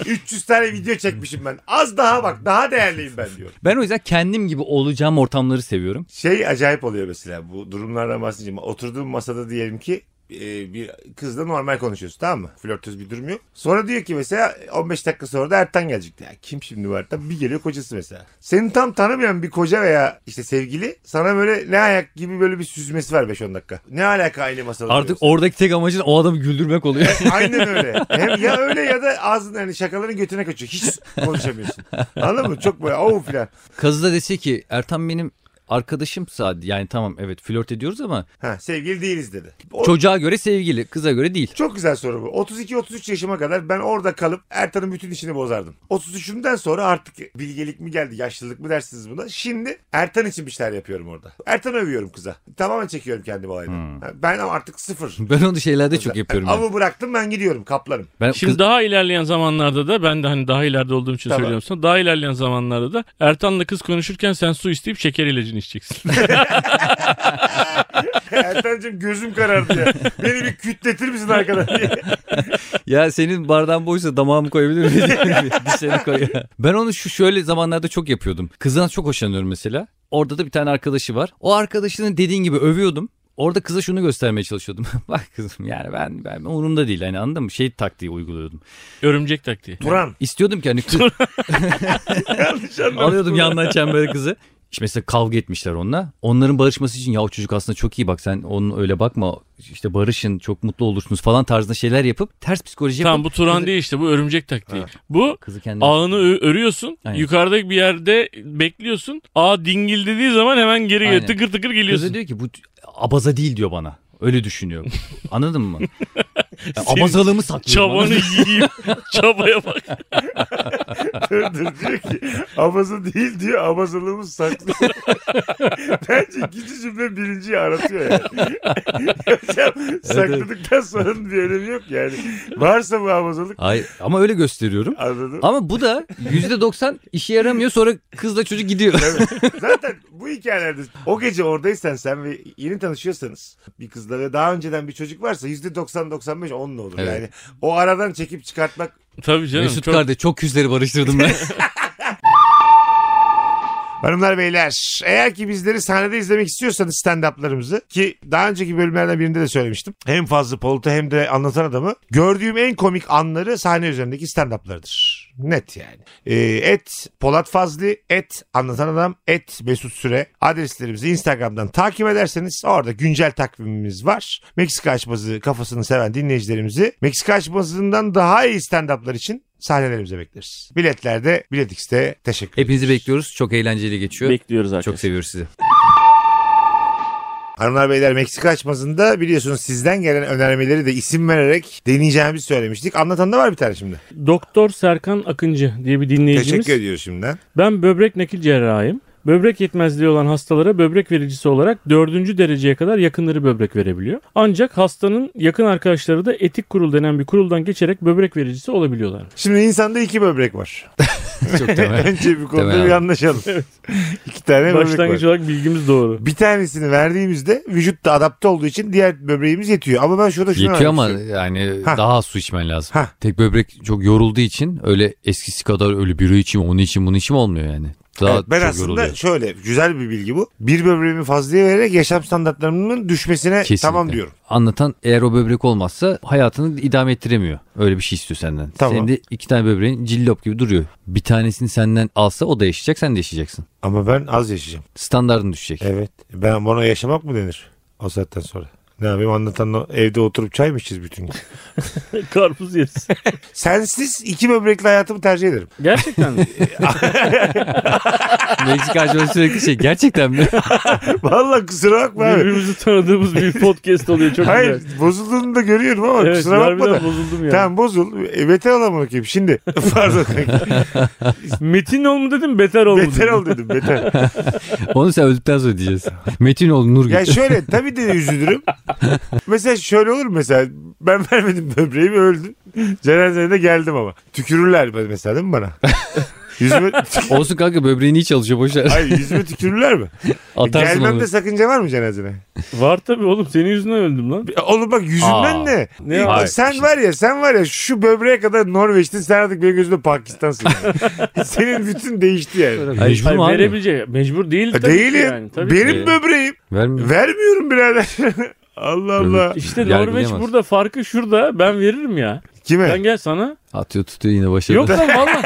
300 tane video çekmişim ben. Az daha bak. Daha değerliyim ben diyorum.
ben o yüzden kendim gibi olacağım ortamları seviyorum.
Şey acayip oluyor mesela bu durumlardan bahsedeceğim. Oturduğum masada diyelim ki e, bir kızla normal konuşuyorsun tamam mı? Flörtöz bir durum yok. Sonra diyor ki mesela 15 dakika sonra da Ertan gelecek. Ya kim şimdi bu Ertan? Bir geliyor kocası mesela. Senin tam tanımayan bir koca veya işte sevgili sana böyle ne ayak gibi böyle bir süzmesi var 5-10 dakika. Ne alaka aynı masada?
Artık
diyorsun.
oradaki tek amacın o adamı güldürmek oluyor.
Aynen öyle. Hem ya öyle ya da ağzın hani şakaların götüne kaçıyor. Hiç konuşamıyorsun. Anladın mı? Çok böyle av filan.
Kız da dese ki Ertan benim arkadaşım sadece yani tamam evet flört ediyoruz ama
Ha, sevgili değiliz dedi. O-
çocuğa göre sevgili kıza göre değil.
çok güzel soru bu. 32-33 yaşıma kadar ben orada kalıp Ertan'ın bütün işini bozardım. 33'ümden sonra artık bilgelik mi geldi, yaşlılık mı dersiniz buna. Şimdi Ertan için bir şeyler yapıyorum orada. Ertan'ı övüyorum kıza. Tamamen çekiyorum kendimi olaydan. Ha, Ben ama artık sıfır.
Ben onu şeylerde çok yapıyorum. ben.
Avı bıraktım ben gidiyorum kaplanım.
Ben
Şimdi
kız-
daha ilerleyen zamanlarda da ben de hani daha ileride olduğum için
Tamam.
söylüyorum sana. Daha ilerleyen zamanlarda da Ertan'la kız konuşurken sen su isteyip şeker ilacını içeceksin.
Ertan'cığım gözüm karardı ya. Beni bir kütletir misin arkadan diye.
Ya senin bardağın boşsa damağımı koyabilir miyim? Dişlerini koy. Ben onu şu şöyle zamanlarda çok yapıyordum. Kızdan çok hoşlanıyorum mesela. Orada da bir tane arkadaşı var. O arkadaşını dediğin gibi övüyordum. Orada kıza şunu göstermeye çalışıyordum. Bak kızım yani ben, ben umurumda değil hani anladın mı? Şey taktiği uyguluyordum.
Örümcek taktiği.
Turan.
İstiyordum ki hani kız-
Yanlış anladım.
alıyordum yandan çemberi kızı. İşte mesela kavga etmişler onunla. Onların barışması için ya o çocuk aslında çok iyi bak sen onun öyle bakma işte barışın çok mutlu olursunuz falan tarzında şeyler yapıp ters psikoloji yapıp
Tamam bu Turan değil işte bu örümcek taktiği. Bu
kızı kendine
ağını ö- örüyorsun.
Aynen.
Yukarıdaki bir yerde bekliyorsun. Ağ dingil dediği zaman hemen geri geliyor.
Aynen.
Tıkır tıkır
Kızı
geliyorsun.
diyor ki bu t- abaza değil diyor bana. Öyle düşünüyor. Anladın mı? Ya,
Senin
abazalığımı saklıyorum.
Çabanı yiyeyim. Çabaya bak.
Dur diyor ki abazı değil diyor abazalığımız saklı. Bence ikinci cümle birinciyi aratıyor yani. Hocam, sakladıktan sonra bir önemi yok yani. Varsa bu abazalık
Hayır ama öyle gösteriyorum.
anladım.
Ama bu da %90 işe yaramıyor sonra kızla çocuk gidiyor.
Zaten bu hikayelerde o gece oradaysan sen ve yeni tanışıyorsanız bir kızla ve daha önceden bir çocuk varsa %90-95 onunla olur.
Evet.
Yani o aradan çekip çıkartmak
Tabii canım.
Mesut
çok-
kardeş çok küsleri barıştırdım ben.
Hanımlar beyler eğer ki bizleri sahnede izlemek istiyorsanız stand-up'larımızı ki daha önceki bölümlerden birinde de söylemiştim. Hem fazla Polat'ı hem de anlatan adamı gördüğüm en komik anları sahne üzerindeki stand-up'larıdır. Net yani. Ee, et Polat Fazlı, et anlatan adam, et Mesut Süre adreslerimizi Instagram'dan takip ederseniz orada güncel takvimimiz var. Meksika açmazı kafasını seven dinleyicilerimizi Meksika açmazından daha iyi stand-up'lar için sahnelerimize bekleriz. Biletlerde, Bilet X'te teşekkür
Hepinizi bekliyoruz. Çok eğlenceli geçiyor.
Bekliyoruz arkadaşlar.
çok seviyoruz sizi.
Hanımlar beyler Meksika açmasında biliyorsunuz sizden gelen önermeleri de isim vererek deneyeceğimizi söylemiştik. Anlatan da var bir tane şimdi.
Doktor Serkan Akıncı diye bir dinleyicimiz.
Teşekkür ediyoruz şimdiden.
Ben böbrek nakil cerrahıyım. Böbrek yetmezliği olan hastalara böbrek vericisi olarak dördüncü dereceye kadar yakınları böbrek verebiliyor. Ancak hastanın yakın arkadaşları da etik kurul denen bir kuruldan geçerek böbrek vericisi olabiliyorlar.
Şimdi insanda iki böbrek var.
Çok temel.
Önce bir konuda
Temel
bir
abi.
anlaşalım. İki tane böbrek
Başlangıç
var.
olarak bilgimiz doğru.
Bir tanesini verdiğimizde vücut da adapte olduğu için diğer böbreğimiz yetiyor. Ama ben şurada şunu
Yetiyor ama
anlatıyorum.
yani
Ha.
daha az su içmen lazım.
Ha.
Tek böbrek çok yorulduğu için öyle eskisi kadar öyle biri içeyim onu içeyim bunu içeyim olmuyor yani. Daha
Evet, ben
çok
aslında
yoruluyor.
şöyle güzel bir bilgi bu. Bir böbreğimi fazlaya vererek yaşam standartlarımın düşmesine
Kesinlikle.
tamam diyorum.
Anlatan eğer o böbrek olmazsa hayatını idame ettiremiyor. Öyle bir şey istiyor senden.
Tamam.
Senin de iki tane böbreğin cillop gibi duruyor. Bir tanesini senden alsa o da yaşayacak sen de yaşayacaksın.
Ama ben az yaşayacağım.
Standardın düşecek.
Evet. Ben bana yaşamak mı denir o saatten sonra? Ne yapayım anlatan o- evde oturup çay mı içeceğiz bütün gün?
Karpuz yeriz.
Sensiz iki böbrekli hayatımı tercih ederim.
Gerçekten mi?
Meksika acaba sürekli şey gerçekten mi?
Vallahi kusura bakma abi.
birbirimizi tanıdığımız bir podcast oluyor. Çok
Hayır
güzel.
görüyorum ama
Evet,
kusura bakma da.
harbiden bozuldum ya.
Tamam bozul. E, beter olamam bakayım şimdi. Pardon. kanki.
Metin ol mu dedim, beter ol mu
beter
dedim.
ol dedim beter.
Onu sen öldükten sonra diyeceğiz. Metin ol Nurgül.
Ya şöyle tabii de üzülürüm. mesela şöyle olur mu mesela ben vermedim böbreğimi öldüm. Cenazene de geldim ama. Tükürürler mesela değil mi bana? Yüzüme,
Olsun kanka böbreğini hiç çalışıyor boşver.
hayır yüzüme tükürürler mi?
Atarsın
Gelmemde
onu.
sakınca var mı cenazene?
Var tabii oğlum senin yüzünden öldüm lan.
E, Oğlum bak yüzünden
Aa.
ne?
Ne
Ya
var?
sen var ya sen var ya şu böbreğe kadar Norveç'tin sen artık benim gözümde Pakistan'sın. yani. Senin bütün değişti yani.
Hayır, Mecbur
Hayır,
mu abi?
verebilecek. Mecbur değil tabii ki
E, Değilim.
şey yani. Tabii ki.
benim böbreğim.
Vermiyor.
Vermiyorum birader. Allah Allah.
İşte
Yargılayamaz.
Norveç burada farkı şurada ben veririm ya.
Kime?
Ben gel sana.
Atıyor tutuyor yine başladı.
Yok lan vallahi.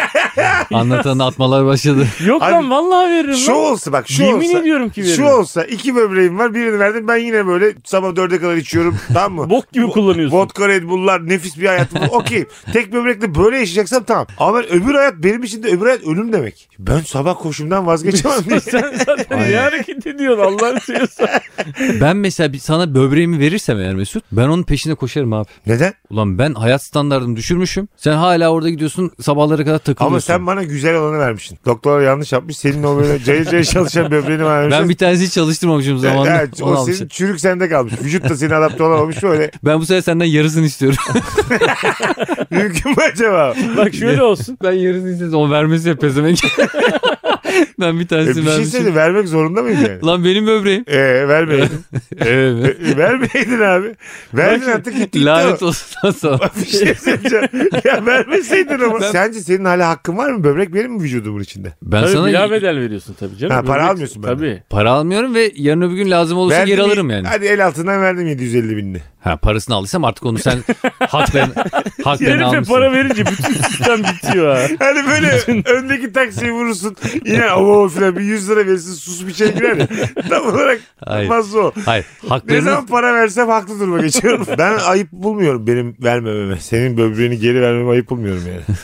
Anlatan atmalar başladı.
Yok
Abi,
lan vallahi veririm
Şu
lan.
olsa bak şu
Yemin
olsa.
ediyorum ki veririm.
Şu olsa iki böbreğim var birini verdim ben yine böyle sabah dörde kadar içiyorum tamam mı?
Bok gibi kullanıyorsun.
Vodka Red Bull'lar nefis bir hayatım. var. Okey. Tek böbrekle böyle yaşayacaksam tamam. Ama ben öbür hayat benim için de öbür hayat ölüm demek. Ben sabah koşumdan vazgeçemem diye.
Sen zaten ne
Aynen.
hareket ediyorsun Allah'ını seviyorsan.
Ben mesela bir sana böbreğimi verirsem eğer Mesut ben onun peşine koşarım abi.
Neden?
Ulan ben hayat standartımı düşürmüşüm. Sen hala orada gidiyorsun sabahlara kadar takılıyorsun.
Ama sen bana güzel olanı vermişsin. Doktorlar yanlış yapmış. Senin o böyle cayır cayır çalışan böbreğini bana vermişsin.
ben bir tanesi hiç çalıştırmamışım zamanında.
Evet,
Onu
o
almışım.
senin çürük sende kalmış. Vücut da senin adapte olamamış. Şöyle
Ben bu sefer senden yarısını istiyorum.
mümkün mü acaba?
Bak şöyle olsun.
ben yarısını istedim. O vermesi ya pezemek. ben bir
E,
tanesini
bir şey
vermişim.
seni vermek zorunda mıyım yani?
Lan benim böbreğim.
Ee, vermeyeydin.
Evet.
E, vermeyeydin abi. Verdin artık gitti.
Lanet
Lanet
olsun lan sana.
bir şey söyleyeceğim. Ya vermeseydin ama.
Ben-
Sence senin hala hakkın var mı? Böbrek benim mi vücudumun içinde?
Ben
Tabii
sana
bila bedel veriyorsun tabii canım.
Ha, para
Böbrek-
almıyorsun benden.
Tabii.
para almıyorum ve yarın öbür gün lazım olursa
Verdim
geri
y-
alırım yani.
Hadi el altından verdim 750 binini.
Ha, parasını aldıysam artık onu sen hak ben, hak ben
Herife
almışsın.
para verince bütün sistem bitiyor ha.
Hani böyle öndeki taksiye vurursun. Yine av baba filan bir 100 lira verirsin susup içeri girer ya. Tam olarak
Hayır.
nasıl o.
Hayır.
Ne
Haklarınız
zaman para versem haklı duruma geçiyorum. Ben ayıp bulmuyorum benim vermememe. Senin böbreğini geri vermeme ayıp bulmuyorum yani.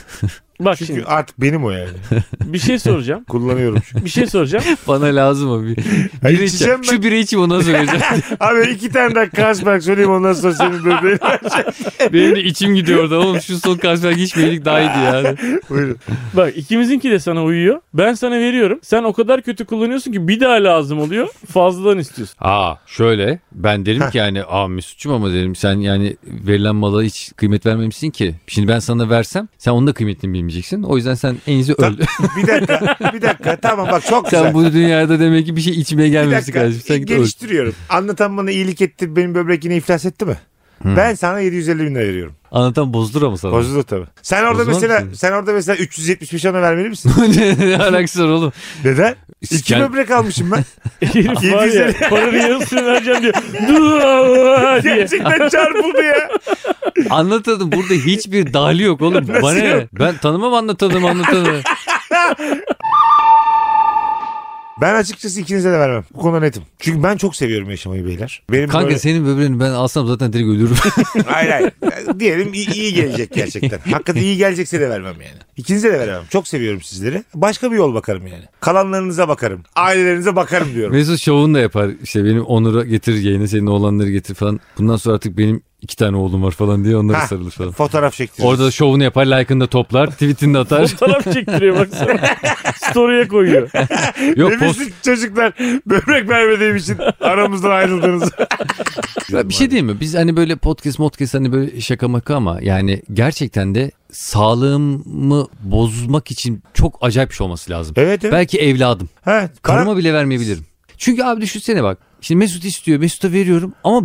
Bak
Çünkü
şimdi
artık benim o yani.
bir şey soracağım.
Kullanıyorum çünkü.
Bir şey soracağım.
bana lazım abi.
Ha,
Biri
içeceğim
içeceğim şey Şu biri içeyim ondan sonra vereceğim.
Abi iki tane daha Carlsberg söyleyeyim ondan sonra senin böbreğini
Benim de içim gidiyor orada. Oğlum şu son kanser geçmeyelik daha iyiydi yani.
Buyurun.
Bak ikimizinki de sana uyuyor. Ben sana veriyorum. Sen o kadar kötü kullanıyorsun ki bir daha lazım oluyor. Fazladan istiyorsun.
Aa şöyle ben derim ki yani aa Mesut'cum ama derim sen yani verilen mala hiç kıymet vermemişsin ki. Şimdi ben sana versem sen onun da kıymetini bilmeyeceksin. O yüzden sen en iyisi öl.
Bir dakika. Bir dakika. Tamam bak çok güzel.
sen bu dünyada demek ki bir e, şey içmeye
bir
gelmemişsin
dakika.
kardeşim. Sen git öl.
Geliştiriyorum. Anlatan bana iyilik etti benim böbrek yine iflas etti mi? Ben sana 750 bin lira veriyorum.
Anlatan bozdur ama sana.
Bozuldu tabii. Sen orada
Bozulmaz
mesela
mısın?
sen orada mesela 375 ona vermeli misin?
ne, ne alakası var oğlum?
Neden? İki
Yani-
böbrek almışım ben.
Herif var ya
750.
paranın yarısını vereceğim diyor. Dua diye.
Gerçekten çarpıldı ya.
Anlatan burada hiçbir dahli yok oğlum. Bana ne?
yok?
Ben tanımam anlatanı anlatanı.
Ben açıkçası ikinize de vermem. Bu konuda netim. Çünkü ben çok seviyorum yaşamayı beyler. Benim
Kanka
böyle-
senin böbreğini ben alsam zaten direkt ölürüm.
Hayır hayır. Yani Diyelim iyi, iyi gelecek gerçekten. Hakikaten iyi gelecekse de vermem yani. İkinize de vermem. Çok seviyorum sizleri. Başka bir yol bakarım yani. Kalanlarınıza bakarım. Ailelerinize bakarım diyorum.
Mesut şovunu da yapar. İşte benim Onur'a getirir yayına senin oğlanları getir falan. Bundan sonra artık benim iki tane oğlum var falan diye onlara
Ha.
sarılır falan.
Fotoğraf çektiririz.
Orada da şovunu yapar, like'ını da toplar, tweetini de atar.
Fotoğraf çektiriyor baksana. Story'e koyuyor.
Yok
Ne
post.
bilsin çocuklar böbrek vermediğim için aramızdan ayrıldınız.
Ya Bir şey diyeyim mi? Biz hani böyle podcast podcast hani böyle şaka maka ama yani gerçekten de sağlığımı bozmak için çok acayip bir şey olması lazım.
Evet evet.
Belki evladım.
Ha, para-
Karıma bile vermeyebilirim. Çünkü abi düşünsene bak. Şimdi Mesut istiyor. Mesut'a veriyorum ama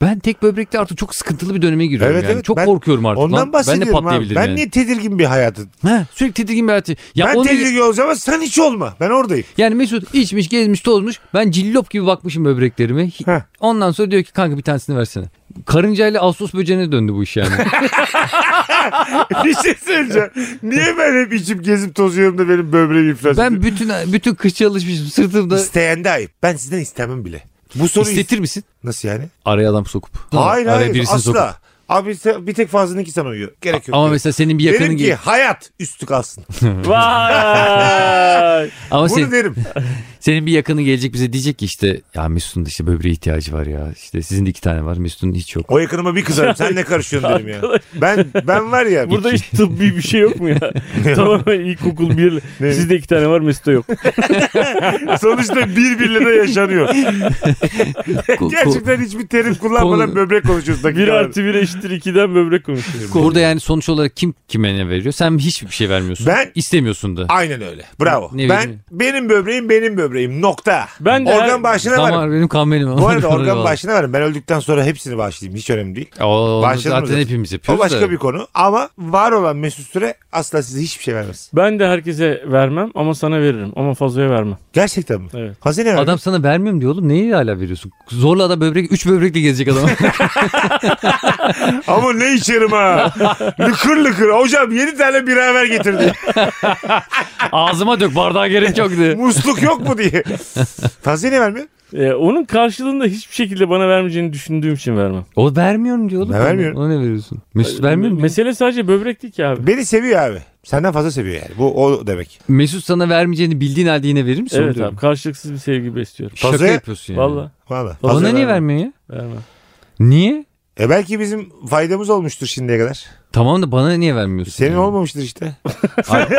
ben tek böbrekte artık çok sıkıntılı bir döneme giriyorum
Evet,
yani.
evet.
çok
Ben-
korkuyorum artık.
Ondan
Lan ben de
bahsediyorum abi.
patlayabilirim
Ben
yani.
niye tedirgin bir hayatı?
Ha, sürekli tedirgin bir hayatı. Ya
ben
onu-
tedirgin olacağım ama sen hiç olma. Ben oradayım.
Yani Mesut içmiş, gezmiş, tozmuş. Ben cillop gibi bakmışım böbreklerime. Hi-
Heh.
Ondan sonra diyor ki kanka bir tanesini versene. Karıncayla Ağustos böceğine döndü bu iş yani.
bir şey söyleyeceğim. Niye ben hep içip gezip tozuyorum da benim böbreğim iflas
ben
ediyor?
bütün bütün kış çalışmışım sırtımda.
İsteyen de ayıp. Ben sizden istemem bile. Bu soruyu
İstetir misin?
Nasıl yani?
Araya adam sokup.
Hayır
Araya
hayır
birisini
asla.
sokup.
Abi se- bir tek fazlanınki sana uyuyor. Gerek yok.
Ama
Benim
mesela senin bir yakının
ki
gibi.
hayat üstü kalsın.
Vay.
Ama
Bunu
senin,
derim.
senin bir yakının gelecek bize diyecek ki işte ya Mesut'un da işte böbreğe ihtiyacı var ya. İşte sizin de iki tane var Mesut'un hiç yok.
O yakınıma bir kızarım. Sen ne karışıyorsun derim ya. Ben ben var ya.
Burada hiç tıbbi bir şey yok mu ya? Tamamen ilkokul bir.
Ne?
Sizde iki tane var Mesut'ta yok.
sonuçta birbirine de yaşanıyor.
Ko- ko-
Gerçekten hiçbir terim kullanmadan
Konu-
böbrek konuşuyoruz.
Bir
dakikalardır.
artı bir eşittir 2'den böbrek konuşuyor.
Burada yani sonuç olarak kim kime ne veriyor? Sen hiçbir şey vermiyorsun.
Ben-
istemiyorsun da.
Aynen öyle. Bravo.
Ne
ben
bileyim.
benim böbreğim benim böbreğim. Nokta.
Ben de her-
organ bağışına varım.
Damar benim kan benim.
Bu arada organ bağışına varım. Ben öldükten sonra hepsini bağışlayayım. Hiç önemli değil.
O, onu
Başladı mı
zaten
zaten?
hepimiz
O
yapıyoruz
başka
da.
bir konu. Ama var olan Mesut Süre asla size hiçbir şey vermez.
Ben de herkese vermem ama sana veririm. Ama fazlaya vermem.
Gerçekten mi?
Evet.
Hazine vermem.
Adam sana vermiyorum diyor oğlum. Neyi hala veriyorsun? Zorla adam böbrek, üç böbrekle gezecek adam.
Ama ne içerim ha. lıkır lıkır. Hocam 7 tane biraver getirdi.
Ağzıma dök bardağa gerek yok diye.
Musluk yok mu diye. Hazine vermiyor.
Ee, onun karşılığında hiçbir şekilde bana vermeyeceğini düşündüğüm için vermem.
O vermiyorum diyor oğlum.
Ben vermiyorum.
Ona ne veriyorsun? Mesut vermiyor mu?
Mesele sadece böbrek değil ki abi.
Beni seviyor abi. Senden fazla seviyor yani. Bu o demek.
Mesut sana vermeyeceğini bildiğin halde yine verir misin? Onu
Evet
diyorum.
abi karşılıksız bir sevgi besliyorum.
Şaka
Fazla-
yapıyorsun yani.
Valla
Valla.
Fazla
Bana niye
vermem.
vermiyor ya?
vermem.
Niye?
E belki bizim faydamız olmuştur şimdiye kadar.
Tamam da bana niye vermiyorsun?
Senin
yani?
olmamıştır işte.
Hayır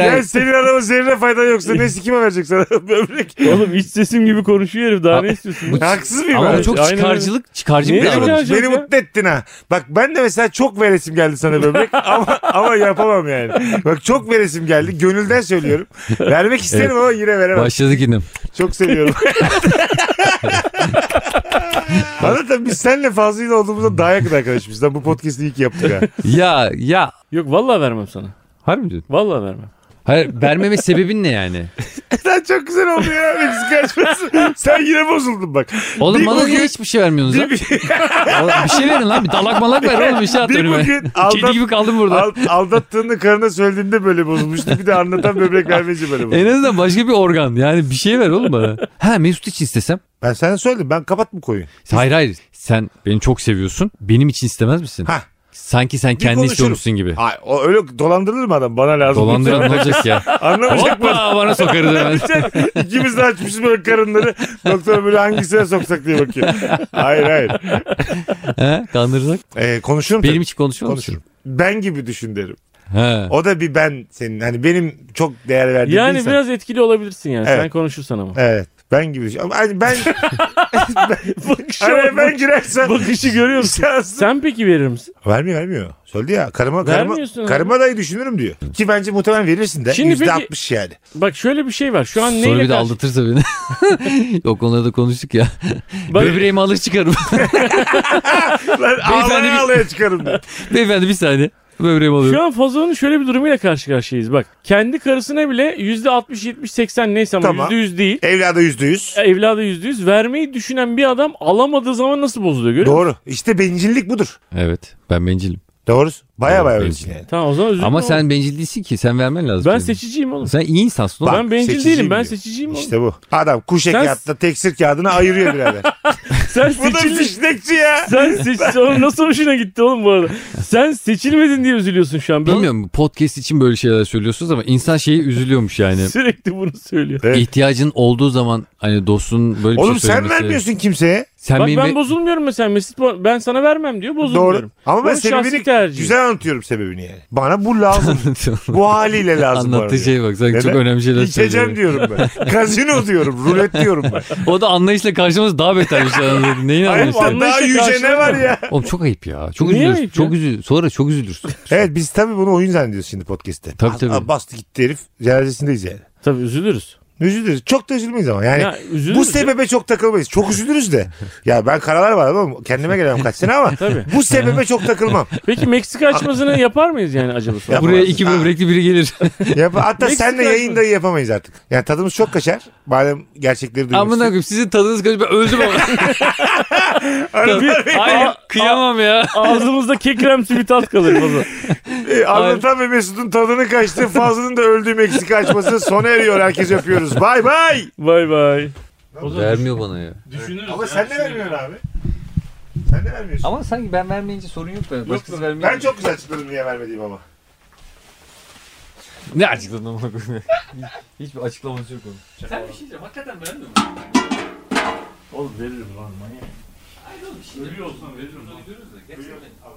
Yani
hayır.
senin adamın zerre faydan yoksa ne kime verecek sana böbrek?
Oğlum iç sesim gibi konuşuyor herif daha
Abi,
ne istiyorsun?
bu-
Haksız mıyım
Ama
ben?
bu çok
Aynen öyle.
çıkarcılık, çıkarcı bir
Niye
davranış.
çıkarcı?
Beni
ya.
mutlu ettin ha. Bak ben de mesela çok veresim geldi sana böbrek ama ama yapamam yani. Bak çok veresim geldi. Gönülden söylüyorum. Vermek isterim ama yine veremem.
Başladık yine.
Çok seviyorum. Anlatan biz seninle fazlıyla olduğumuzda daha yakın arkadaşımız. Lan bu podcast'i iyi ki yaptık ha.
Ya ya.
Yok valla vermem sana.
Harbi mi diyorsun?
Valla vermem.
Hayır vermeme sebebin ne yani?
Sen çok güzel oldu ya Meksika açması. Sen yine bozuldun bak.
Oğlum
Bir
bana
bugün-
niye hiçbir şey vermiyorsunuz
Bir,
lan?
bir,
Oğlum bir şey verin lan. Bir dalak malak ver oğlum bir şey at
bir
önüme.
bugün
Kedi
aldat,
gibi kaldım burada.
al, aldattığını karına söylediğinde böyle bozulmuştu. Bir de anlatan böbrek vermeyince böyle
En
bozuldu.
azından başka bir organ. Yani bir şey ver oğlum bana. Ha Mesut için istesem.
Ben sana söyledim ben kapat mı koyun?
Hayır hayır. Sen beni çok seviyorsun. Benim için istemez misin?
Hah.
Sanki sen kendin
konuşuruz.
istiyormuşsun gibi.
Hayır, o öyle dolandırılır mı adam? Bana lazım.
Dolandıran ne olacak ya?
Anlamayacak mı?
Hoppa bana sokarız hemen.
İkimiz de açmışız böyle karınları. Doktor böyle hangisine soksak diye bakıyor. Hayır hayır.
He, kandıracak.
Ee, konuşurum
Benim
Benim
için konuşuyor musun?
konuşurum. Ben gibi düşün derim.
He.
O da bir ben senin. Hani benim çok değer verdiğim
Yani
bir insan.
biraz etkili olabilirsin yani.
Evet.
Sen konuşursan ama.
Evet. Ben gibi düşün. Ama hani ben
Bakışı,
araya ben girersem.
bakışı görüyor musun?
Şanslı.
Sen peki verir misin?
Vermiyor vermiyor. Söyledi ya. Karıma karıma,
Vermiyorsun abi.
karıma dahi düşünürüm diyor. Ki bence muhtemelen verirsin de.
Şimdi
%60 yani.
Bak şöyle bir şey var. Şu an
Sonra
neyle
bir de
karşı...
aldatırsa beni. o konuda da konuştuk ya.
Bak-
Böbreğimi alır çıkarım.
Lan
Beyefendi bir-
ağlaya ağlaya çıkarım diyor.
Beyefendi bir saniye. Böbreğimi alıyorum.
Şu an Fazon'un şöyle bir durumuyla karşı karşıyayız. Bak kendi karısına bile %60, 70, 80 neyse ama
Tamam.
%100 değil. E,
Evlada %100.
Evladı %100 vermeyi düşünen bir adam alamadığı zaman nasıl bozuluyor görüyor musun?
Doğru. İşte bencillik budur.
Evet ben bencilim.
Doğru. Baya
Doğru,
baya
bencil.
bencil yani.
Tamam o zaman üzülme
Ama
oğlum.
sen bencil değilsin ki. Sen vermen lazım.
Ben
senin.
seçiciyim oğlum.
Sen iyi insansın oğlum.
ben bencil
seçiciyim
değilim ben
diyor.
seçiciyim oğlum.
İşte bu. Adam kuş
Sen-
ekiyatta teksir kağıdını ayırıyor birader.
Sen
bu da
seçildin.
fişnekçi ya.
Sen seç... oğlum nasıl hoşuna gitti oğlum bu arada? Sen seçilmedin diye üzülüyorsun şu an. Ben
Bilmiyorum bu podcast için böyle şeyler söylüyorsunuz ama insan şeyi üzülüyormuş yani.
Sürekli bunu söylüyor.
Evet.
İhtiyacın olduğu zaman hani dostun böyle bir
Oğlum
şey
sen
söylemesi.
vermiyorsun kimseye.
Sen
Bak
benim
ben bozulmuyorum mesela Mesut Bo- ben sana vermem diyor
Doğru.
bozulmuyorum.
Ama ben
Onun şahsi
sebebini
tercihi.
güzel anlatıyorum sebebini yani. Bana bu lazım.
be...
bu haliyle lazım bana.
Anlattığı
diyor.
şeye şey bak. Sen
Neden?
çok önemli şeyler söylüyorsun.
İçeceğim diyorum ben. Kazino diyorum. Rulet diyorum ben.
O da anlayışla karşılaması daha betermiş. anladın. Neyin
Hayır,
anlayışı?
anlayışla
daha yüce ne
karşılama.
var ya?
Oğlum çok ayıp ya. Çok
Niye
üzülürsün.
ayıp
Çok
ya?
üzül. Sonra çok üzülürsün.
Evet biz tabii bunu oyun zannediyoruz şimdi podcast'te.
Tabii,
Aa,
tabii.
aa, bastı gitti herif. Cenazesindeyiz yani.
Tabii üzülürüz.
Üzülürüz. Çok da üzülmeyiz ama yani.
Ya, üzülürüz
Hani bu
ya.
sebebe çok takılmayız. Çok üzülürüz de. Ya ben karalar var oğlum. Kendime gelemem kaç sene ama.
Tabii.
Bu sebebe çok takılmam.
Peki Meksika açmazını yapar mıyız yani acaba sonra?
Yap-
Buraya
Yapamazsın.
iki
Ha.
böbrekli biri gelir.
Yap- hatta
Meksika
senle yayın dahi yapamayız artık. Yani tadımız çok kaçar. Madem gerçekleri duymak
Amına koyayım sizin tadınız kaçıyor. Ben öldüm ama.
istiyorum.
Hayır kıyamam ya.
Ağzımızda kekrem simit tat kalır o zaman.
Ee, Anlatan ve Mesut'un tadını kaçtı. Fazlı'nın da öldüğü Meksika açması sona eriyor. Herkes öpüyoruz. Bay bay.
Bay bay.
Vermiyor bana ya.
Düşünürüz.
Ama sen de vermiyorsun abi. Sen de vermiyorsun.
Ama sanki ben vermeyince sorun yok da. Başkası vermiyor.
Ben çok güzel açıkladım niye vermediğim ama.
Ne açıkladın amına koyayım? Hiçbir açıklaması yok onun.
Oğlum veririm lan manyak. Ölüyor olsan veririm lan.